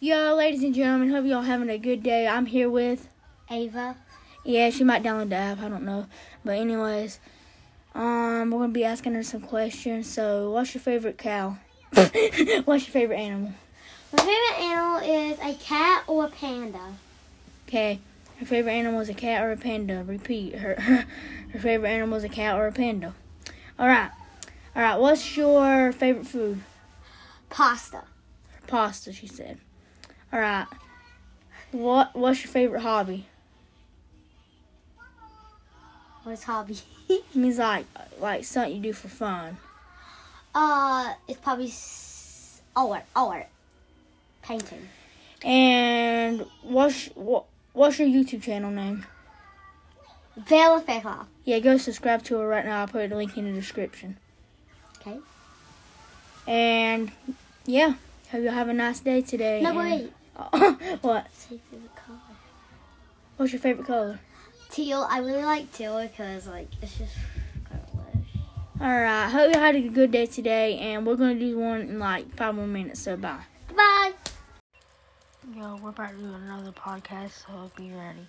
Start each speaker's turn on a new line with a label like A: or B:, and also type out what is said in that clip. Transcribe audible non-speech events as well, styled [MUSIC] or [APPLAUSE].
A: Yo, ladies and gentlemen, hope y'all having a good day. I'm here with
B: Ava.
A: yeah, she might download the app. I don't know, but anyways, um, we're gonna be asking her some questions. So, what's your favorite cow? [LAUGHS] what's your favorite animal?
B: My favorite animal is a cat or a panda.
A: Okay, her favorite animal is a cat or a panda. Repeat her. [LAUGHS] her favorite animal is a cat or a panda. All right, all right. What's your favorite food?
B: Pasta.
A: Pasta, she said. All right. What What's your favorite hobby?
B: What's hobby? [LAUGHS]
A: means like like something you do for fun.
B: uh, it's probably s- art. Art. Painting.
A: And what's what, what's your YouTube channel name?
B: Bella Fairclough.
A: Yeah, go subscribe to her right now. I'll put a link in the description.
B: Okay.
A: And yeah, hope you all have a nice day today.
B: No,
A: and-
B: wait.
A: [LAUGHS] what?
B: What's your favorite color?
A: What's your favorite color?
B: Teal. I really like teal because like it's just. I don't know.
A: All right. Hope you all had a good day today, and we're gonna do one in like five more minutes. So bye.
B: Bye.
A: Yo, we're about to do another podcast, so be ready.